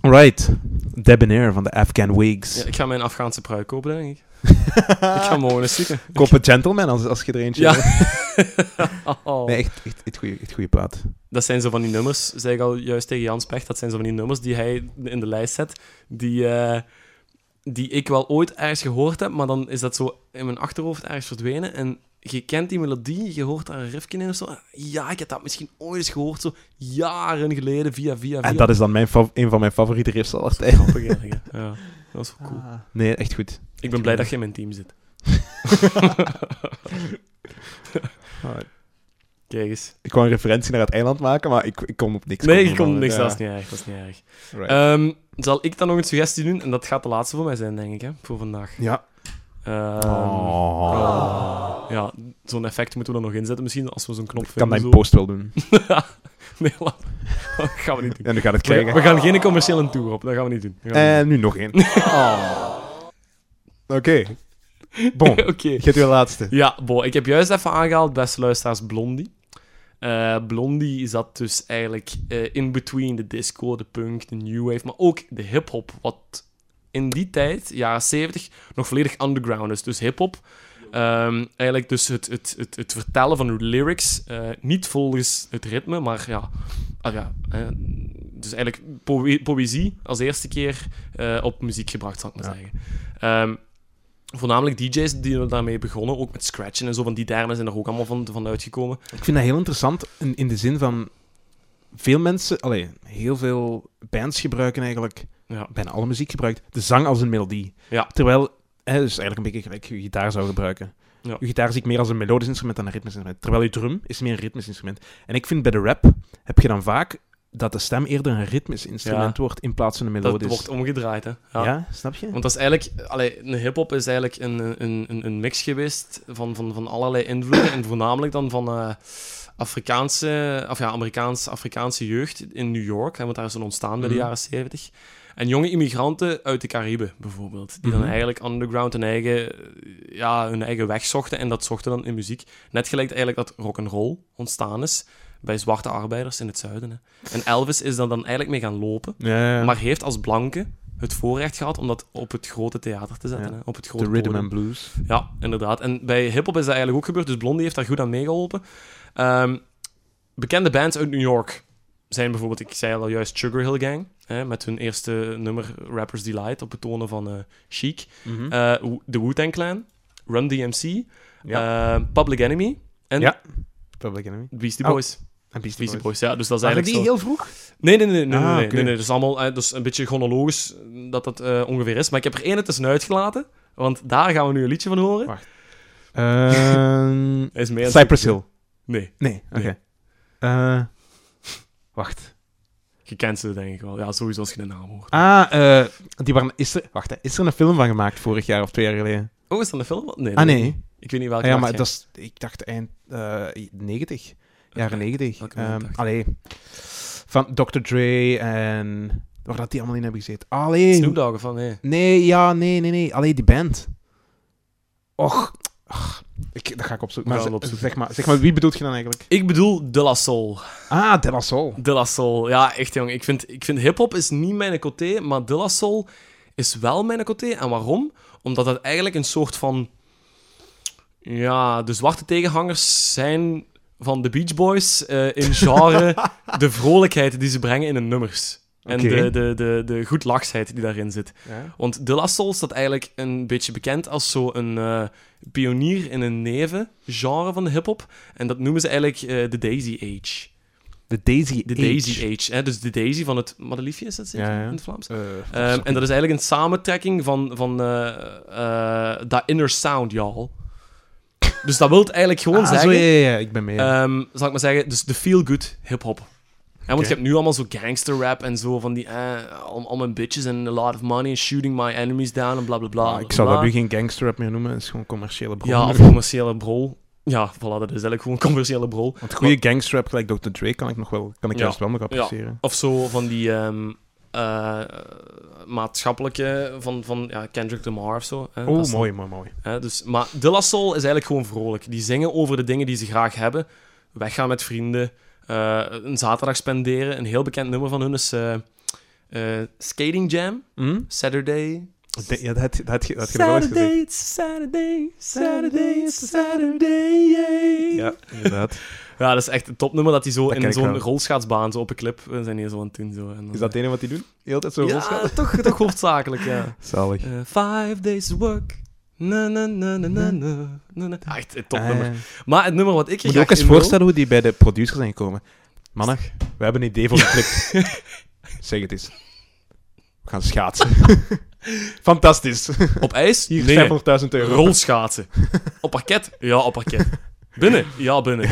Right. Debonair van de Afghan Wigs. Ja, ik ga mijn Afghaanse pruik kopen, denk ik. Ah. ik ga morgen eens zieken. Koop een gentleman als, als je er eentje Ja. hebt. Oh. Nee, echt, echt, echt, goeie, echt goeie plaat. Dat zijn zo van die nummers, zei ik al juist tegen Jans Pecht, dat zijn zo van die nummers die hij in de lijst zet, die, eh, die ik wel ooit ergens gehoord heb, maar dan is dat zo in mijn achterhoofd ergens verdwenen. En je kent die melodie, je hoort daar een riffje in of zo. Ja, ik heb dat misschien ooit eens gehoord, zo jaren geleden, via, via, via. En dat is dan mijn fav- een van mijn favoriete riffs al altijd. grappig eigenlijk. hè. Ja, dat is wel cool. Nee, echt goed. Ik ben blij dat je in mijn team zit. Alright. Kijk eens. Ik wou een referentie naar het eiland maken, maar ik, ik kom op niks. Nee, je kom komt op niks, ja. dat is niet erg, dat is niet erg. Right. Ehm, zal ik dan nog een suggestie doen? En dat gaat de laatste voor mij zijn, denk ik, hè, voor vandaag. ja. Ehm, Oh. eh, Ja, zo'n effect moeten we er nog inzetten. Misschien als we zo'n knop Ik kan vinden. mijn zo. post wel doen. nee, laat. Dat gaan we niet doen. En nu gaat het We, krijgen. we gaan geen commerciële tour op. Dat gaan we niet doen. Dat gaan we En nu nog één. Oh. Oké. Bon. niet doen. Oké. Je hebt uw laatste. Ja, bo, ik heb juist even aangehaald, beste luisteraars, Blondie. Eh, Blondie zat dus eigenlijk eh, in between de disco, de punk, de new wave, maar ook de hip-hop. Wat in die tijd, jaren 70, nog volledig underground is. Dus hip-hop. ehm, eigenlijk dus het, het, het, het vertellen van lyrics, eh, niet volgens het ritme, maar ja. ah ja eh, dus eigenlijk poë- poëzie als eerste keer eh, op muziek gebracht, zal ik maar Ja. zeggen. Ehm, voornamelijk DJ's die daarmee begonnen, ook met scratchen en zo. Van die termen zijn er ook allemaal van, van uitgekomen. Ik vind dat heel interessant in, in de zin van veel mensen, allee, heel veel bands gebruiken eigenlijk, Ja. bijna alle muziek gebruikt, de zang als een melodie. Ja. Terwijl, hè, dus eigenlijk een beetje gelijk je gitaar zou gebruiken. Ja. Je gitaar zie ik meer als een melodisch instrument dan een ritmisch instrument. Terwijl je drum is meer een ritmisch instrument. En ik vind bij de rap heb je dan vaak dat de stem eerder een ritmisch instrument wordt in plaats van een Dat melodisch. wordt omgedraaid, hè? ja. snap je? Want dat is eigenlijk, allee, een hip-hop is eigenlijk een, een, een, een mix geweest van, van, van allerlei invloeden. En voornamelijk dan van eh, Afrikaanse, of ja, Amerikaanse, Afrikaanse jeugd in New York. Hè, want daar is een ontstaan bij de Mhm. jaren 70. En jonge immigranten uit de Cariben bijvoorbeeld. Die dan Mhm. eigenlijk underground hun eigen, eh, ja, hun eigen weg zochten. En dat zochten dan in muziek. Net gelijk eigenlijk dat rock'n'roll ontstaan is bij zwarte arbeiders in het zuiden. Hè. En Elvis is dan, dan eigenlijk mee gaan lopen. Ja, ja. Maar heeft als blanke het voorrecht gehad om dat op het grote theater te zetten. Ja. Hè? Op het grote de rhythm podium. and blues. Ja, inderdaad. En bij hip-hop is dat eigenlijk ook gebeurd, dus Blondie heeft daar goed aan meegeholpen. Ehm, bekende bands uit New York zijn bijvoorbeeld, ik zei al juist, Sugar Hill Gang. Hè, met hun eerste nummer Rappers Delight op het tonen van eh, Chic. Mhm. Eh, Wo- de Wu-Tang Clan, Run DMC, ja. eh, Public Enemy en Ja. Public Enemy. Beastie Oh, Boys. En Beastie Boys. Beastie Boys, ja. Dus dat is Waren eigenlijk die zo- heel vroeg? Nee, nee, nee. nee, Ah, nee, nee, oké. nee, nee. Dat is allemaal eh, dat is een beetje chronologisch eh, dat dat eh, ongeveer is. Maar ik heb er één tussenuit gelaten, want daar gaan we nu een liedje van horen. Wacht. Ehm, Hij is meer aan het Cypress Hill. zoeken. Nee, Nee, oké. Nee. Eh, wacht. je kent ze denk ik wel. Ja, sowieso als je de naam hoort. Ah, eh, die waren, is, er, wacht, hè, is er een film van gemaakt vorig jaar of twee jaar geleden? Oh, is dat een film? Nee. ah, dat- nee. Ah, Ik weet niet welke. ja, jaar maar jij- dat is, ik dacht eind eh 90. Jaren Oké. 90. welke Ehm, jaren 80? allee. Van Dr. Dre en... Waar dat die allemaal in hebben gezeten. Allee. Snoop Dogg of van, nee. Nee, ja, nee, nee, nee. Allee, die band. Och. ach, ik, dat ga ik opzoeken. We Maar, gaan ze- het opzoeken. Zeg, maar, zeg maar, wie bedoelt je dan eigenlijk? Ik bedoel De La Soul. Ah, De La Soul. De La Soul. Ja, echt jong. Ik vind, ik vind hip-hop is niet mijn coté, maar De La Soul is wel mijn coté. En waarom? Omdat dat eigenlijk een soort van. Ja, de zwarte tegenhangers zijn van de Beach Boys eh, in genre de vrolijkheid die ze brengen in hun nummers. En Oké. de, de, de, de goedlachsheid die daarin zit. Ja. Want De La Soul staat eigenlijk een beetje bekend als zo'n eh pionier in een nevengenre van de hip-hop. En dat noemen ze eigenlijk eh, de Daisy Age. De Daisy De Age. Daisy Age, hè? dus de Daisy van het madeliefje is dat zeker Ja, ja. in het Vlaams. Eh, Ehm, en dat is eigenlijk een samentrekking van, van eh, eh, dat inner sound, y'all. Dus dat wil eigenlijk gewoon Ah, zo, zeggen, ja, ja, ja, ik ben mee. ehm, zal ik maar zeggen, dus de feel-good hip-hop. Hè, want Oké. je hebt nu allemaal zo gangster rap en zo van die, eh, all, all my bitches and a lot of money and shooting my enemies down en bla bla bla. Ah, ik zou dat nu geen gangsterrap meer noemen, het is gewoon commerciële bron. Ja, of commerciële brol. Ja, voilà, dat is eigenlijk gewoon commerciële brol. Want goede gangsterrap gelijk Dr. Dre kan ik nog wel, kan ik Ja. juist wel nog appreciëren. Of zo van die ehm, eh, maatschappelijke, van, van ja, Kendrick Lamar of zo. Hè, dat Oh, is- mooi, mooi, mooi. hè, dus, maar De La Soul is eigenlijk gewoon vrolijk. Die zingen over de dingen die ze graag hebben. Weggaan met vrienden, eh, een zaterdag spenderen. Een heel bekend nummer van hun is eh, eh, Skating Jam, Hm? Saturday. Ik denk- Ja, dat had je- dat had je dat had je nog wel eens Saturday, gezegd. it's a Saturday, Saturday, it's a Saturday, yeah. Ja, inderdaad. Ja, dat is echt een topnummer dat hij zo Dat ken in ik zo'n wel. rolschaatsbaan, zo op een clip, eh, zijn die zo aan het doen. Zo, en dan- Is dat het ene wat die doen? Heel tijd zo Ja, rolschaal? toch, toch hoofdzakelijk, ja. Zalig. Eh, five days work. Na, na, na, na, na, na, na, na. Ah, Echt een topnummer. Eh, Hmm. Maar het nummer wat ik moet je ook eens voorstellen hoe die bij de producer zijn gekomen. Mannen, we hebben een idee voor een clip. zeg het eens. We gaan schaatsen. Fantastisch. Op ijs? Hier, nee. 500.000 euro. Rolschaatsen. op parket? Ja, op parket. Binnen? Ja, binnen.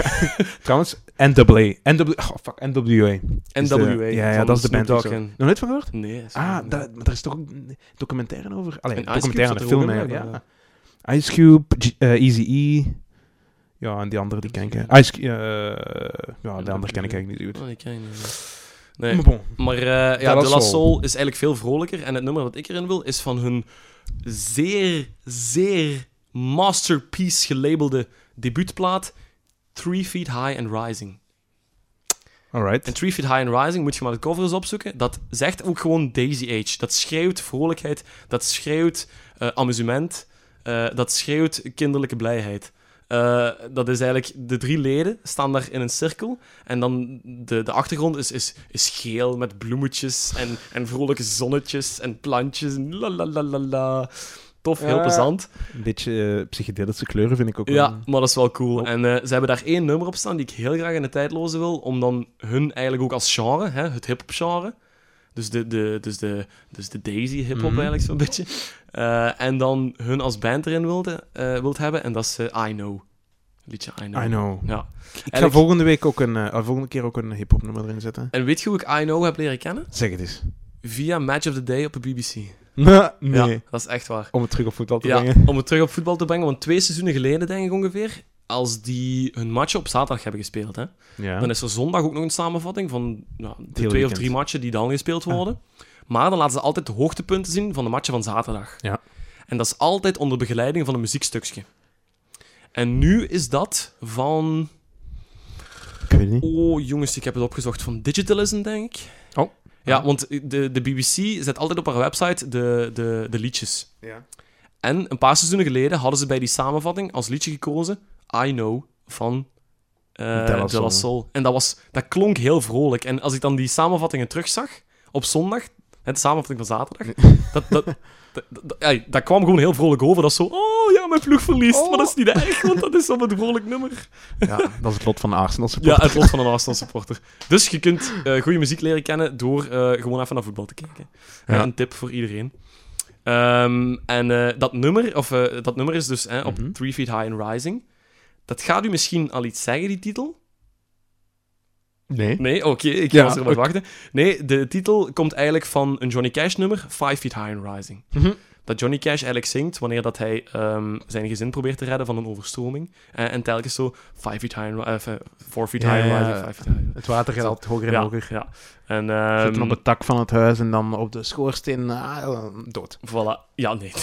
Trouwens, NWA. NW, oh, fuck, NWA. Is de- NWA. ja, ja, van dat is de Snoop band. ook Dogg zo. en- Nog nooit van gehoord? Nee. is- Ah, dat, maar er is toch ook een documentaire over? Allee, En een eh, Ice Cube documentaire, een film. zat er ook in, hè, blijkbaar, ja. Ice Cube, G- eh, Eazy E. Ja, en die andere die ken ik. hè. Ice, Cu- eh, ja, die andere ken ik eigenlijk niet zo goed. Oh, die ken ik niet. Nee. Maar bon. Maar eh, ja, De La De La Soul. Soul is eigenlijk veel vrolijker. En het nummer wat ik erin wil, is van hun zeer, zeer masterpiece gelabelde debuutplaat... Three Feet High and Rising. En Alright. Three Feet High and Rising, moet je maar de cover eens opzoeken. Dat zegt ook gewoon Daisy Age. Dat schreeuwt vrolijkheid, dat schreeuwt eh, amusement, eh, dat schreeuwt kinderlijke blijheid. Eh, dat is eigenlijk, de drie leden staan daar in een cirkel. En dan de, de achtergrond is, is, is geel met bloemetjes en, en vrolijke zonnetjes en plantjes. en La la la la la. Tof, heel Ja. plezant. Een beetje eh, psychedelische kleuren vind ik ook Ja, wel. maar dat is wel cool. En eh, ze hebben daar één nummer op staan die ik heel graag in de tijdloze wil, om dan hun eigenlijk ook als genre, hè, het hip-hop genre. Dus de, de, dus de, dus de Daisy hip-hop Mhm. eigenlijk zo'n beetje. Eh, en dan hun als band erin wilde, eh, wilt hebben, en dat is eh, I Know. Liedje I Know. I know. Ja. Ik ga Eigenlijk- volgende week ook een, eh, volgende keer ook een hip-hop nummer erin zetten. En weet je hoe ik I Know heb leren kennen? Zeg het eens. Via Match of the Day op de BBC. nee. Ja, dat is echt waar. Om het terug op voetbal te Ja, brengen. om het terug op voetbal te brengen, want twee seizoenen geleden denk ik ongeveer, als die hun matchen op zaterdag hebben gespeeld, hè. Ja. Dan is er zondag ook nog een samenvatting van nou, de twee of weekend. drie matchen die dan gespeeld worden. Maar dan laten ze altijd de hoogtepunten zien van de matchen van zaterdag. Ja. En dat is altijd onder begeleiding van een muziekstukje. En nu is dat van... Ik weet het niet. Oh, jongens, ik heb het opgezocht. Van Digitalism, denk ik. Oh. Ja, want de, de BBC zet altijd op haar website de, de, de liedjes. Ja. En een paar seizoenen geleden hadden ze bij die samenvatting als liedje gekozen I Know van eh De De La La Soul. Soul. En dat, was, dat klonk heel vrolijk. En als ik dan die samenvattingen terugzag op zondag, hè, de samenvatting van zaterdag, dat, dat, dat, dat- ja, dat kwam gewoon heel vrolijk over. Dat is zo, oh ja, mijn ploeg verliest. Maar dat is niet erg, want dat is op een vrolijk nummer. dat is het lot van Arsenal Ja, supporter. het lot van een Arsenal supporter. Dus je kunt eh, goede muziek leren kennen door eh, gewoon even naar voetbal te kijken. Ja. Eh, een tip voor iedereen. Ehm, en eh, dat, nummer, of, eh, dat nummer is dus eh, op Mhm. Three Feet High and Rising. Dat gaat u misschien al iets zeggen, die titel. Nee. Nee, oké, ik Ja, was erop aan het wachten. Nee, de titel komt eigenlijk van een Johnny Cash nummer, Five Feet High and Rising. Mhm. Dat Johnny Cash eigenlijk zingt wanneer dat hij ehm, zijn gezin probeert te redden van een overstroming. Eh, en telkens zo, Five Feet High and Rising, Four Feet Ja, High and ja, Rising, ja. Five Feet High and Het water gaat altijd hoger en ja, hoger. Ja. En, Zitten ehm op het tak van het huis en dan op de schoorsteen. ah, dood. Voilà. Ja, nee.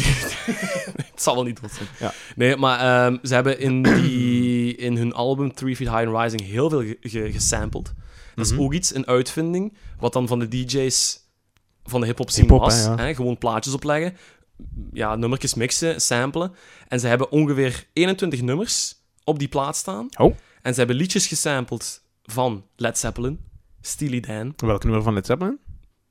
het zal wel niet dood zijn. Ja. Nee, maar ehm, ze hebben in, die, in hun album Three Feet High and Rising heel veel ge- ge- gesampled. Dat is Mhm. ook iets, een uitvinding, wat dan van de DJ's van de hip-hop scene Hip-hop, was. hè, Hè, ja. Gewoon plaatjes opleggen, ja, nummertjes mixen, samplen. En ze hebben ongeveer 21 nummers op die plaat staan. Oh. En ze hebben liedjes gesampled van Led Zeppelin, Steely Dan, Welk nummer van Led Zeppelin?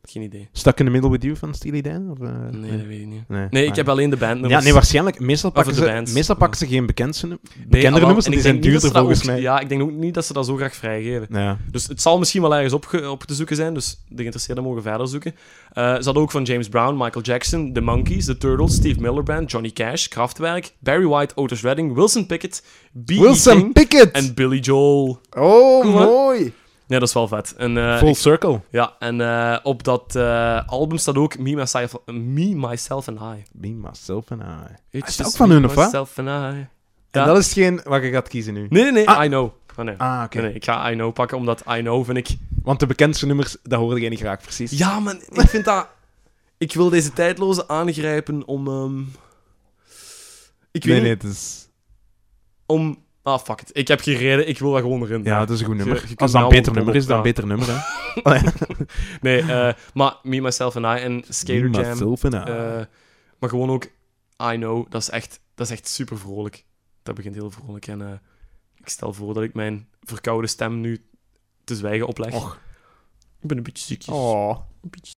geen idee. Stuck in the Middle with You van Steely Dan? Of, eh, Nee, dat weet ik niet. Nee, Nee, Ah. ik heb alleen de band Ja, nee, waarschijnlijk. Meestal pakken, de ze, bands. meestal Ja. pakken ze geen bekendste, num- bekendere nummers, want die zijn duurder volgens mij. Ja. Ja, ik denk ook niet dat ze dat zo graag vrijgeven. Dus het zal misschien wel ergens op, op te zoeken zijn, dus de geïnteresseerden mogen verder zoeken. Eh, ze hadden ook van James Brown, Michael Jackson, The Monkees, The Turtles, Steve Miller Band, Johnny Cash, Kraftwerk, Barry White, Otis Redding, Wilson Pickett, B.E. Wilson King Pickett! en Billy Joel. Oh, Cool, hè? mooi! Ja, dat is wel vet. En, eh, Full ik- circle. ja, en eh, op dat eh, album staat ook Me, Myself, Me, Myself and I. Be myself and I. It's is dat ook just van me, hun, of wat? Myself and I. En Ja. dat is geen wat je gaat kiezen nu. Nee, nee, nee, Ah. I Know. Oh, nee. Ah, oké. Nee, nee, ik ga I Know pakken, omdat I Know vind ik... Want de bekendste nummers, dat hoorde jij niet graag, precies. Ja, man, ik vind dat... Ik wil deze tijdloze aangrijpen om... ehm, Ik weet nee, niet, nee, het is... om Ah, fuck it. Ik heb gereden, ik wil daar gewoon erin. Ja, dat is een goed je- nummer. je kunt Als dat een wel beter een nummer is, dan een beter borrel nummer, hè. Nee, eh, maar Me, Myself and I en Skater Be Jam. myself and I. eh, maar gewoon ook I Know, dat is echt, dat is echt super vrolijk. Dat begint heel vrolijk. En eh, ik stel voor dat ik mijn verkoude stem nu te zwijgen opleg. Och. Ik ben een beetje ziekjes. Oh. Een beetje